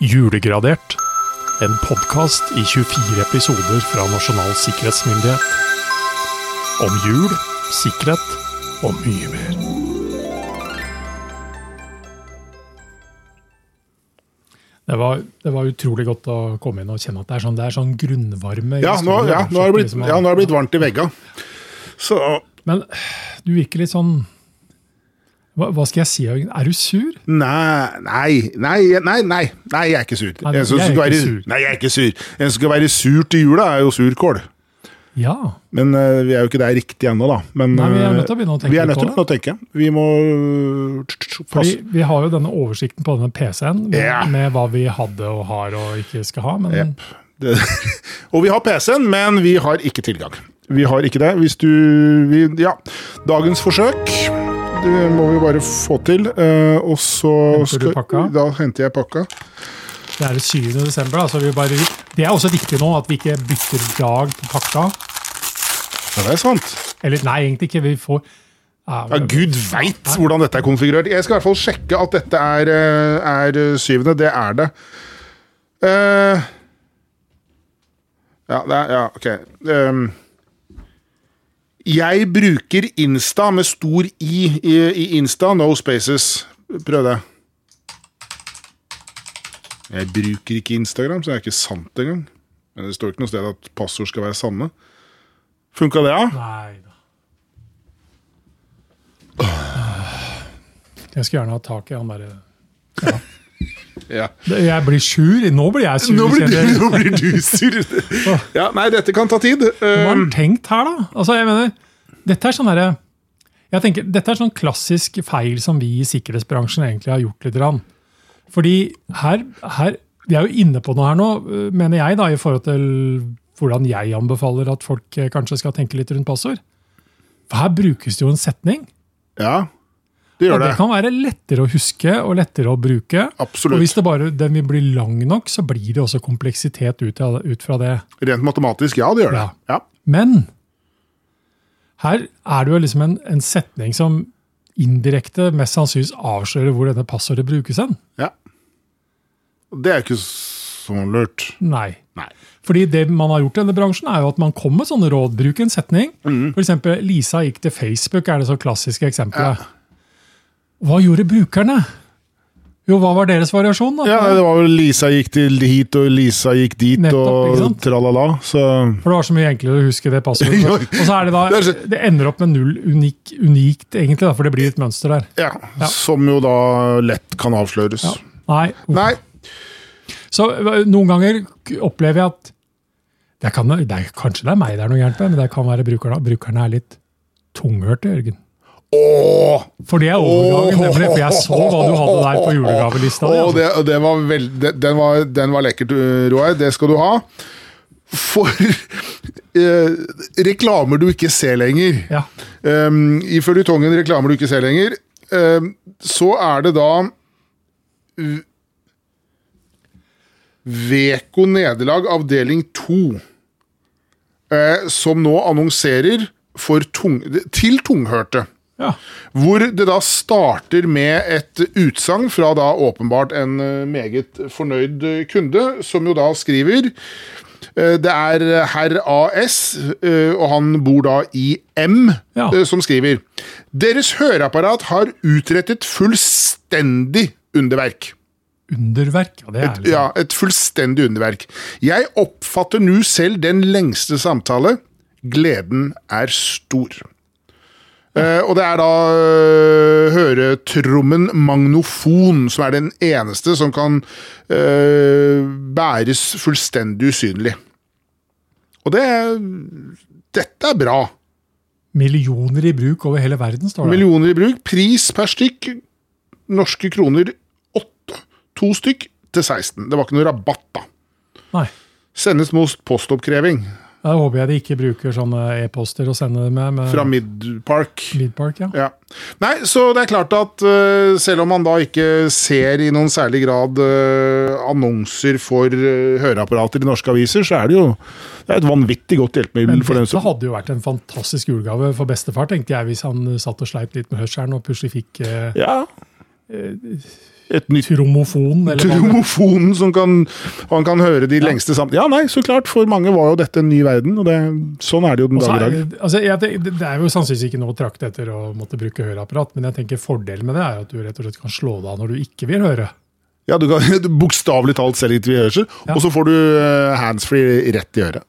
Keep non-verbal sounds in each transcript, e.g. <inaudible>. Julegradert. En podkast i 24 episoder fra Nasjonal sikkerhetsmyndighet. Om jul, sikkerhet og mye mer. Det var, det var utrolig godt å komme inn og kjenne at det er sånn, det er sånn grunnvarme. i Ja, nå, historien. ja, nå har det blitt, Liksom, ja, nå har det blitt varmt i vegga. Så Men du virker litt sånn hva, hva skal jeg si? Jørgen? Er du sur? nei, nei, nei, nei, nei, nei jeg er ikke sur. Nei, En som jeg er skal ikke være, sur. nei, jeg er ikke sur. En som skal være sur til jula, er jo surkål. Ja. Men eh, vi er jo ikke der riktig ennå, da. Men, Nei, vi er nødt til å eh, begynne å tenke vi er litt på nødt til å begynne å tenke. Vi må øh, tsk, tsk, Fordi passe. vi har jo denne oversikten på denne PC-en med, Ja. med hva vi hadde og har og ikke skal ha. Men Jep. Det, <laughs> og vi har PC-en, men vi har ikke tilgang. Vi har ikke det. Hvis du vi, Ja. Dagens forsøk det må vi bare få til. eh, og så Henter du pakka? Da henter jeg pakka. det er det 7. desember. Da, så vi bare, det er også viktig nå at vi ikke bytter dag på pakka. Ja, det er sant. Eller nei, egentlig ikke. Vi får ja, Ja, Gud veit hvordan dette er konfigurert. Jeg skal i hvert fall sjekke at dette er, eh, er syvende. Det er det. Eh, ja, det er, ja, ok. Ehm, jeg bruker Insta med stor I i, i Insta, no spaces. Prøv det. Jeg bruker ikke Instagram, så det er ikke sant engang. Men det står ikke noe sted at passord skal være samme. Funka det, ja? Nei da. Jeg skulle gjerne ha tak i han derre Ja. Jeg blir sur. Nå blir jeg sur. Nå blir du, kjenner jeg. nå blir du sur. Ja, nei, dette kan ta tid. Hva har Eh, han tenkt her, da? Altså, jeg mener, dette er sånn derre jeg tenker, Dette er sånn klassisk feil som vi i sikkerhetsbransjen egentlig har gjort litt. Rann. Fordi her, her Vi er jo inne på noe her nå, øh, mener jeg, da, i forhold til hvordan jeg anbefaler at folk eh, kanskje skal tenke litt rundt passord. For her brukes det jo en setning. Eh, Ja, det Og gjør det det. kan være lettere å huske og lettere å bruke. Absolutt. Og hvis det bare, den vil bli lang nok, så blir det også kompleksitet ut, av- ut fra det. Rent matematisk, ja, det gjør det. Ja. Men her er det jo liksom en, en setning som indirekte mest sannsynligvis avslører hvor denne passordet brukes hen. ja. Det er ikke så lurt. Nei. Nei. Fordi det man har gjort i denne bransjen, er jo at man kommer med sånne råd. Bruk en setning. Mm. For eksempel, Lisa gikk til Facebook, er det så klassiske eksempelet. Hva gjorde brukerne? Jo, hva var deres variasjon? da? Ja, det var vel Lisa gikk til hit, og Lisa gikk dit, Nettopp, ikke og sant? tralala. Så For det var så mye enklere å huske det <laughs> passordet. Ja. Og så er det Det er da, så- det ender opp med null unik, unikt, egentlig, da, for det blir et mønster der. ja, Ja. som jo da lett kan avsløres. Ja. Nei, uff. Nei, Så ø, noen ganger k- opplever jeg at det kan, det er, Kanskje det er meg det er noe gærent med, men det kan være brukerne. Brukerne er litt tunghørte, Jørgen. åh! For det er overgangen, nemlig. For jeg så hva du hadde der på julegavelista. di, Åh, altså. det, det var veld, det, den, var, den var lekkert, Roar. Det skal du ha. For <laughs> eh, reklamer du ikke ser lenger. Ja. Um, I føljetongen reklamer du ikke ser lenger, um, så er det da uh, Veko Nederlag avdeling 2, eh, som nå annonserer for tung, til tunghørte. Ja. Hvor det da starter med et utsagn fra da åpenbart en eh, meget fornøyd eh, kunde, som jo da skriver eh, Det er herr AS, eh, og han bor da i M, Ja. eh, som skriver Deres høreapparat har utrettet fullstendig underverk. Underverk, ja, det er litt Ja, et fullstendig underverk. Jeg oppfatter nå selv den lengste samtale. Gleden er stor. Eh, og det er da eh, høretrommen magnofon, som er den eneste som kan eh, bæres fullstendig usynlig. Og det Dette er bra. Millioner i bruk over hele verden, står det. Millioner i bruk. Pris per stykk norske kroner åtte. To stykk til 16. Det var ikke noe rabatt, da. Nei. Sendes mot postoppkreving Da håper jeg de ikke bruker sånne e-poster å sende det med. med fra Midpark. Midpark, ja. Ja. Nei, så det er klart at øh, selv om man da ikke ser i noen særlig grad øh, annonser for øh, høreapparater i norske aviser, så er det jo det er et vanvittig godt hjelpemiddel for den Dette som hadde jo vært en fantastisk julegave for bestefar, tenkte jeg, hvis han eh, satt og sleit litt med hørselen og plutselig fikk eh, Ja. et nytt Tromofon, eller hva det Tromofonen som kan, han kan høre de lengste sammen. Ja, nei, så klart. For mange var jo dette en ny verden, og det, sånn er det jo den Og så dag i er dag. det- altså, jeg, tenker- det er jo sannsynligvis ikke noe å trakte etter å måtte bruke høreapparat, men jeg tenker fordelen med det er jo at du rett og slett kan slå det av når du ikke vil høre. Ja, du kan <laughs> du bokstavelig talt selektiv hørsel, Ja. og så får du eh, handsfree rett i øret.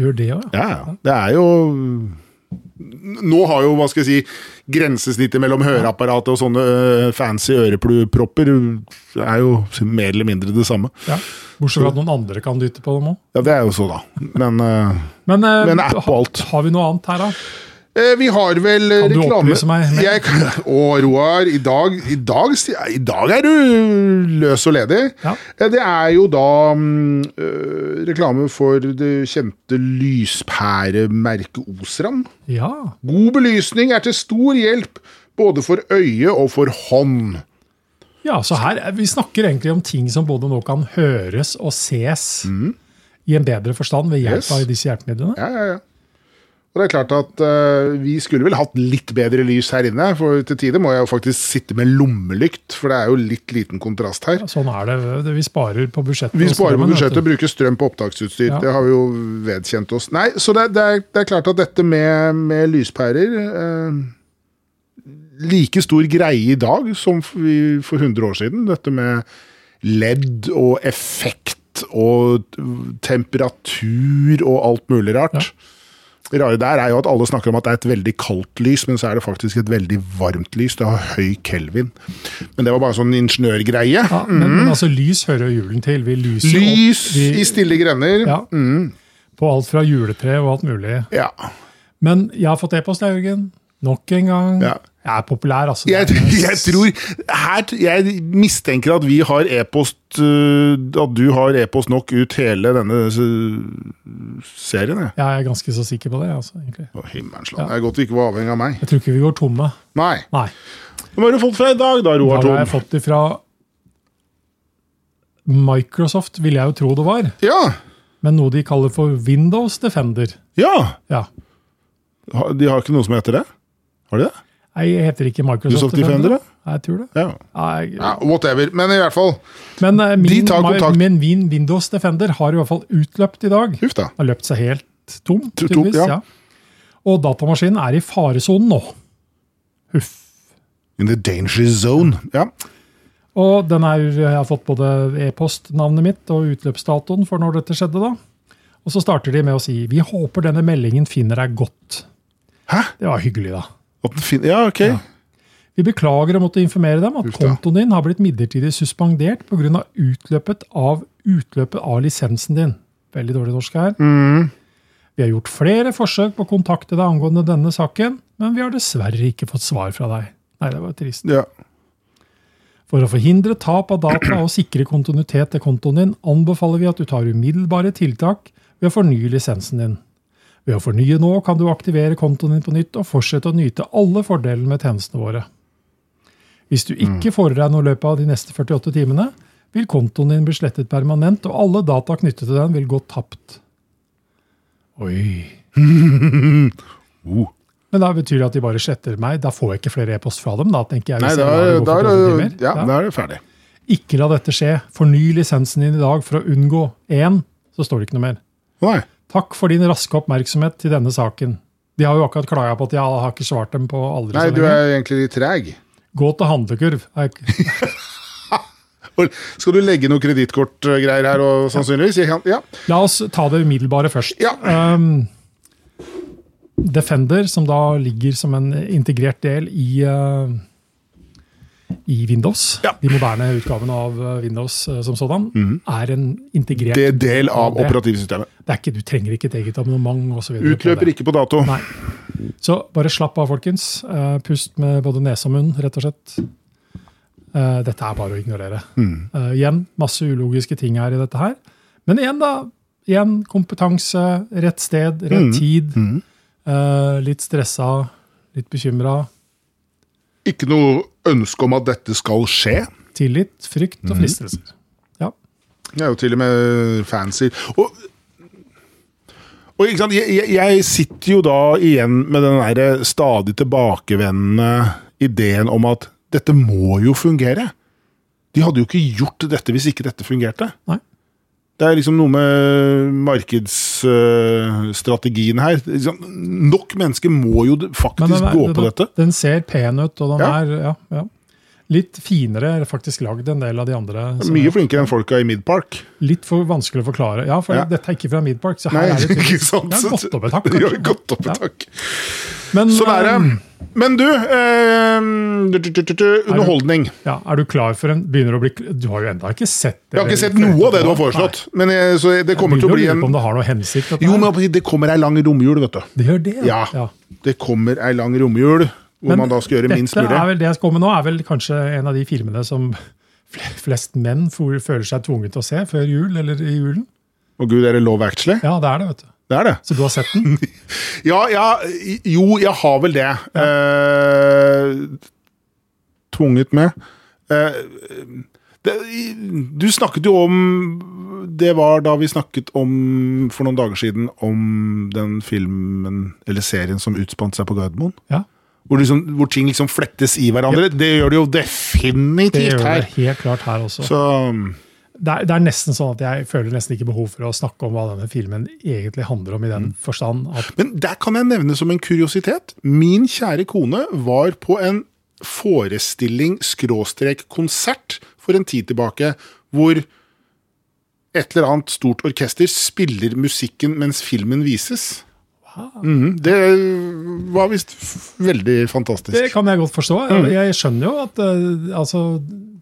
Du gjør det òg, ja. Ja, ja. Det er jo Nå har jo, hva skal jeg si, grensesnittet mellom høreapparatet og sånne eh, fancy ørepropper eh, er jo mer eller mindre det samme. ja. Bortsett fra at noen andre kan dytte på dem òg. Ja, det er jo så, da. Men <laughs> eh, Men, eh, Men app og ha- alt. har vi noe annet her, da? Eh, Vi har vel eh, Kan du reklame opplyse meg mer? Jeg kan- Å, Roar, i dag, i, dag, sti- i dag er du løs og ledig. Ja. Eh, Det er jo da mm, eh, reklame for det kjente lyspæremerket Osram. Ja. God belysning er til stor hjelp både for øye og for hånd. Ja, så her, er- Vi snakker egentlig om ting som både nå kan høres og ses i en bedre forstand ved hjelp Mm. Yes. av disse hjelpemidlene. Ja, ja, ja. Og det er klart at eh, vi skulle vel hatt litt bedre lys her inne, for til tider må jeg jo faktisk sitte med lommelykt, for det er jo litt liten kontrast her. Sånn er det. det- Vi sparer på budsjettet. Vi og sparer på strømmen, vet budsjettet og du. bruker strøm på opptaksutstyr. Ja. Det har vi jo vedkjent oss. Nei, så det, det, er, det er klart at dette med, med lyspærer eh, Like stor greie i dag som f- vi- for 100 år siden. Dette med ledd og effekt og t- temperatur og alt mulig rart. Det rare der er jo at alle snakker om at det er et veldig kaldt lys, men så er det faktisk et veldig varmt lys. Det har høy kelvin. Men det var bare sånn ingeniørgreie. Ja, men, men altså, lys hører jo julen til. Vi lyser Mm. Lys opp vi, i stille <laughs> grener. ja, Mm. på alt fra juletre og alt mulig. Ja. Men jeg har fått e-post, jeg, Jørgen. Nok en gang. Ja. Jeg er populær, altså. Jeg, Det er- jeg tror her, Jeg mistenker at vi har e-post øh, At du har e-post nok ut hele denne øh, serien, jeg. Jeg er ganske så sikker på det. altså, egentlig. Å, himmelens land. Det er godt vi ikke var avhengig av meg. Jeg tror ikke vi går tomme. Nei. Nei. Hva har du fått fra i dag, da, Da Roar har jeg Thon? fått det fra Microsoft, ville jeg jo tro det var. Ja. men noe de kaller for Windows Defender. ja. Ja. Ha- De har ikke noe som heter det? Har de det? Nei, Jeg heter ikke Microsoft Microsoft Defender, da? Nei, Jeg tror det. Ja. Nei, ja. Whatever. Men i hvert fall. men eh, min, De tar my- kontakt. men min Windows Defender har i hvert fall utløpt i dag. Huff da. Har løpt seg helt tom, Tom, tydeligvis. ja. ja. Og datamaskinen er i faresonen nå. Huff. In the danger zone. Ja. Og den er, jeg har fått både e-postnavnet mitt og utløpsdatoen for når dette skjedde. da. Og så starter de med å si vi håper denne meldingen finner deg godt. Hæ? Det var hyggelig, da. At den fin- ja, ok. Vi beklager å måtte informere dem at Uff da. kontoen din har blitt midlertidig suspendert pga. utløpet av utløpet av lisensen din. Veldig dårlig norsk her. Mm. Vi har gjort flere forsøk på å kontakte deg angående denne saken, men vi har dessverre ikke fått svar fra deg. Nei, det var trist. Ja. For å forhindre tap av data og sikre kontinuitet til kontoen din, anbefaler vi at du tar umiddelbare tiltak ved å fornye lisensen din. Ved å fornye nå kan du aktivere kontoen din på nytt og fortsette å nyte alle fordelene med tjenestene våre. Hvis du Mm. ikke får i deg noe i løpet av de neste 48 timene, vil kontoen din bli slettet permanent, og alle data knyttet til den vil gå tapt. <laughs> Oi. Oh. Men da betyr det at de bare sletter meg. Da får jeg ikke flere e-post fra dem, da, tenker jeg. Nei, hvis da, jeg lar det gå da, 48 er det- timer. ja, da er det ferdig. Ikke la dette skje. Forny lisensen din i dag for å unngå én, så står det ikke noe mer. Nei. Takk for din raske oppmerksomhet til denne saken. De har jo akkurat klaga på at jeg har ikke svart dem på aldri Nei, så du lenge. er egentlig litt treg. Gå til handlekurv. Er ikke- Og Skal du legge noe kredittkortgreier her, og, sannsynligvis? Jeg kan- Ja. La oss ta det umiddelbare først. ja. Um, Defender, som da ligger som en integrert del i, uh, i Windows, Ja. Mhm. de moderne utgavene av uh, Windows uh, som sådan, er en integrert Det er del av Det- operativsystemet. det er ikke, Du trenger ikke et eget abonnement osv. Utløper ikke på dato. Nei. Så bare slapp av, folkens. Eh, pust med både nese og munn, rett og slett. Eh, dette er bare å ignorere. Mm. Eh, igjen, masse ulogiske ting her i dette her. Men igjen, da. Igjen, kompetanse, rett sted, rett Mm. tid. Eh, litt stressa, litt bekymra. Ikke noe ønske om at dette skal skje. Tillit, frykt Mm. og fristelser. Ja. Det er jo til og med fancy. Og, og ikke sant? Jeg, jeg- jeg sitter jo da igjen med den der stadig tilbakevendende ideen om at dette må jo fungere. De hadde jo ikke gjort dette hvis ikke dette fungerte. Nei. Det er liksom noe med markedsstrategien her. Liksom, Nok mennesker må jo faktisk Men den er- gå på den- dette. Den ser pen ut, og den Ja. er ja, ja. litt finere er faktisk lagd enn en del av de andre. som Mye er flinkere enn folka i Midpark. <laughs> Litt for vanskelig å forklare. Ja, for Ja. dette er ikke fra Midpark, så her Nei, er det ikke sant? Det er godt over takk, <laughs> Ja, kanskje. godt opp, Ja. takk. Men, Sånn er eh, det. Men du, eh, du, du, du, du, du Underholdning. Ja, er du klar for en Begynner å bli Du har jo enda ikke sett det. Jeg har ikke sett noe av det du har foreslått. Men jeg, så det kommer til å bli en om det har noe hensikt. dette Jo, her. men det kommer ei lang romjul, vet du. det gjør det, Ja. Det kommer ei lang romjul hvor Men man da skal gjøre minst Dette er mulig. vel det jeg skal komme med nå, er vel kanskje en av de filmene som <laughs> fl- flest menn for, føler seg tvunget til å se før jul, eller i julen. Å gud, er det Love Actually? Ja, det er det, vet du. Det er det. Så du har sett den? Ja, ja, jo, jeg har vel det. Eh, tvunget med. Eh, det, du snakket jo om Det var da vi snakket om for noen dager siden om den filmen eller serien som utspant seg på Gardermoen. Ja, Hvor, liksom, hvor ting liksom flettes i hverandre. Det gjør det jo det definitivt gjør det her. helt klart her også. Så um, Det er, det er nesten sånn at jeg føler nesten ikke behov for å snakke om hva denne filmen egentlig handler om, i den forstand at Men der kan jeg nevne som en kuriositet. Min kjære kone var på en forestilling skråstrek konsert for en tid tilbake, hvor et eller annet stort orkester spiller musikken mens filmen vises. Mhm, det var visst f- veldig fantastisk. Det kan jeg godt forstå. Jeg, jeg skjønner jo at eh, altså,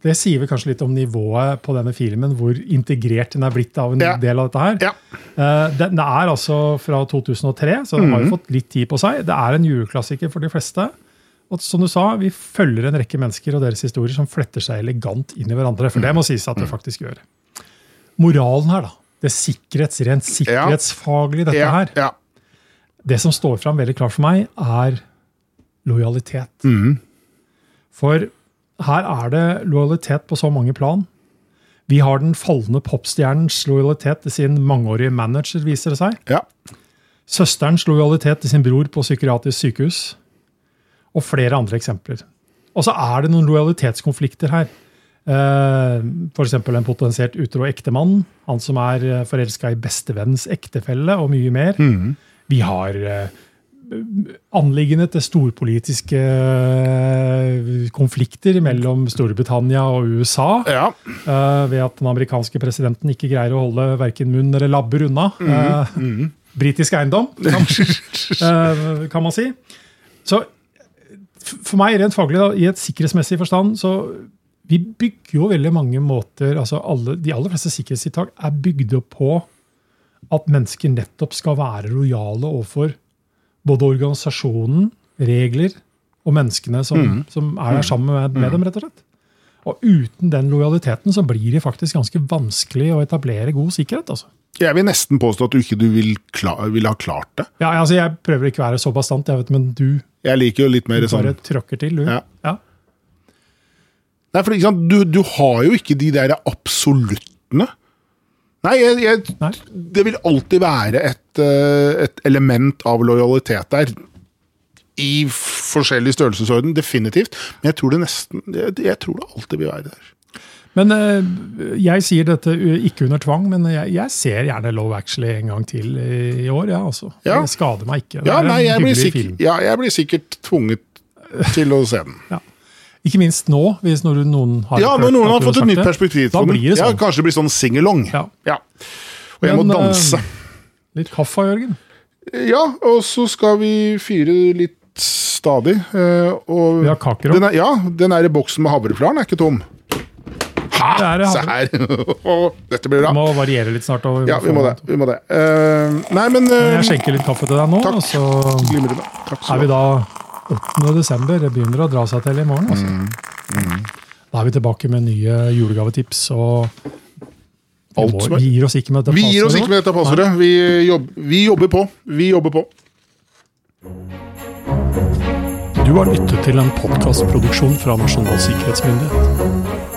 Det sier vel kanskje litt om nivået på denne filmen, hvor integrert den er blitt av en Ja. del av dette her. Ja. Eh, den er altså fra 2003, så den har jo fått litt tid på seg. Det er en juleklassiker for de fleste. Og som du sa, Vi følger en rekke mennesker og deres historier som fletter seg elegant inn i hverandre. For det må sies at det faktisk gjør. Moralen her, da. Det sikkerhets, rent sikkerhetsfaglige i dette ja, her. ja. Det som står fram veldig klart for meg, er lojalitet. For her er det lojalitet på så mange plan. Vi har den falne popstjernens lojalitet til sin mangeårige manager, viser det seg. ja. Søsterens lojalitet til sin bror på psykiatrisk sykehus. Og flere andre eksempler. Og så er det noen lojalitetskonflikter her. F.eks. en potensielt utro ektemann. Han som er forelska i bestevennens ektefelle, og mye mer. Vi har eh, anliggende til storpolitiske eh, konflikter mellom Storbritannia og USA. ja. Eh, ved at den amerikanske presidenten ikke greier å holde verken munn eller labber unna. eh, Britisk eiendom, kan, eh, kan man si. Så f- for meg, rent faglig, da, i et sikkerhetsmessig forstand, så vi bygger jo veldig mange måter altså alle, De aller fleste sikkerhetstiltak er bygd opp på at mennesker nettopp skal være lojale overfor både organisasjonen, regler og menneskene som, som er der sammen med, med dem, rett og slett. Og uten den lojaliteten så blir det faktisk ganske vanskelig å etablere god sikkerhet. altså. Jeg vil nesten påstå at du ikke du vil, kla- vil ha klart det. Ja, altså Jeg prøver ikke å være så bastant, jeg vet, men du Jeg liker jo litt mer sånn bare tråkker til. du. Ja. Ja. Nei, for ikke sant, du, du har jo ikke de der absoluttene. Nei, jeg, jeg, Nei. det vil alltid være et, eh, et element av lojalitet der. I forskjellig størrelsesorden, definitivt. Men jeg tror det nesten Jeg, jeg tror det alltid vil være der. Men eh, jeg sier dette eh, ikke under tvang, men jeg, jeg ser gjerne Love Actually en gang til i år. Ja, altså. Ja. Det skader meg ikke. Det Ja, er en nei, jeg blir, hyggelig sikkert, ja, jeg blir sikkert tvunget til å se den. Ikke minst nå, hvis når du- noen har Ja, når hørt noen at har du fått et sagt nytt det. perspektiv Da på den. blir det Ja, sånn. kanskje det blir sånn singalong. Ja. Ja. Og jeg må Men, eh, danse. Litt kaffe, Jørgen. Ja, og så skal vi fyre litt stadig. eh, Og Vi har kaker den òg. er, ja, den er i boksen med havreflaren, er ikke tom. Det er Ha! det, altså. Se her! <laughs> Åh, Dette blir bra. Må variere litt snart. Og, Ja, vi må det. Vi må det. Eh, nei, men Jeg uh, skjenker litt kaffe til deg nå, Takk. og så Glimrende. Takk er skal vi du ha. da 8. desember. Det begynner å dra seg til i morgen. Altså. Mm, Da er vi tilbake med nye julegavetips. og vi, Alt må, som er- vi gir oss ikke med dette Vi gir oss passordet. ikke med dette passordet. Vi, jobb, vi jobber på. Vi jobber på. Du har lyttet til en podkastproduksjon fra Nasjonal sikkerhetsmyndighet.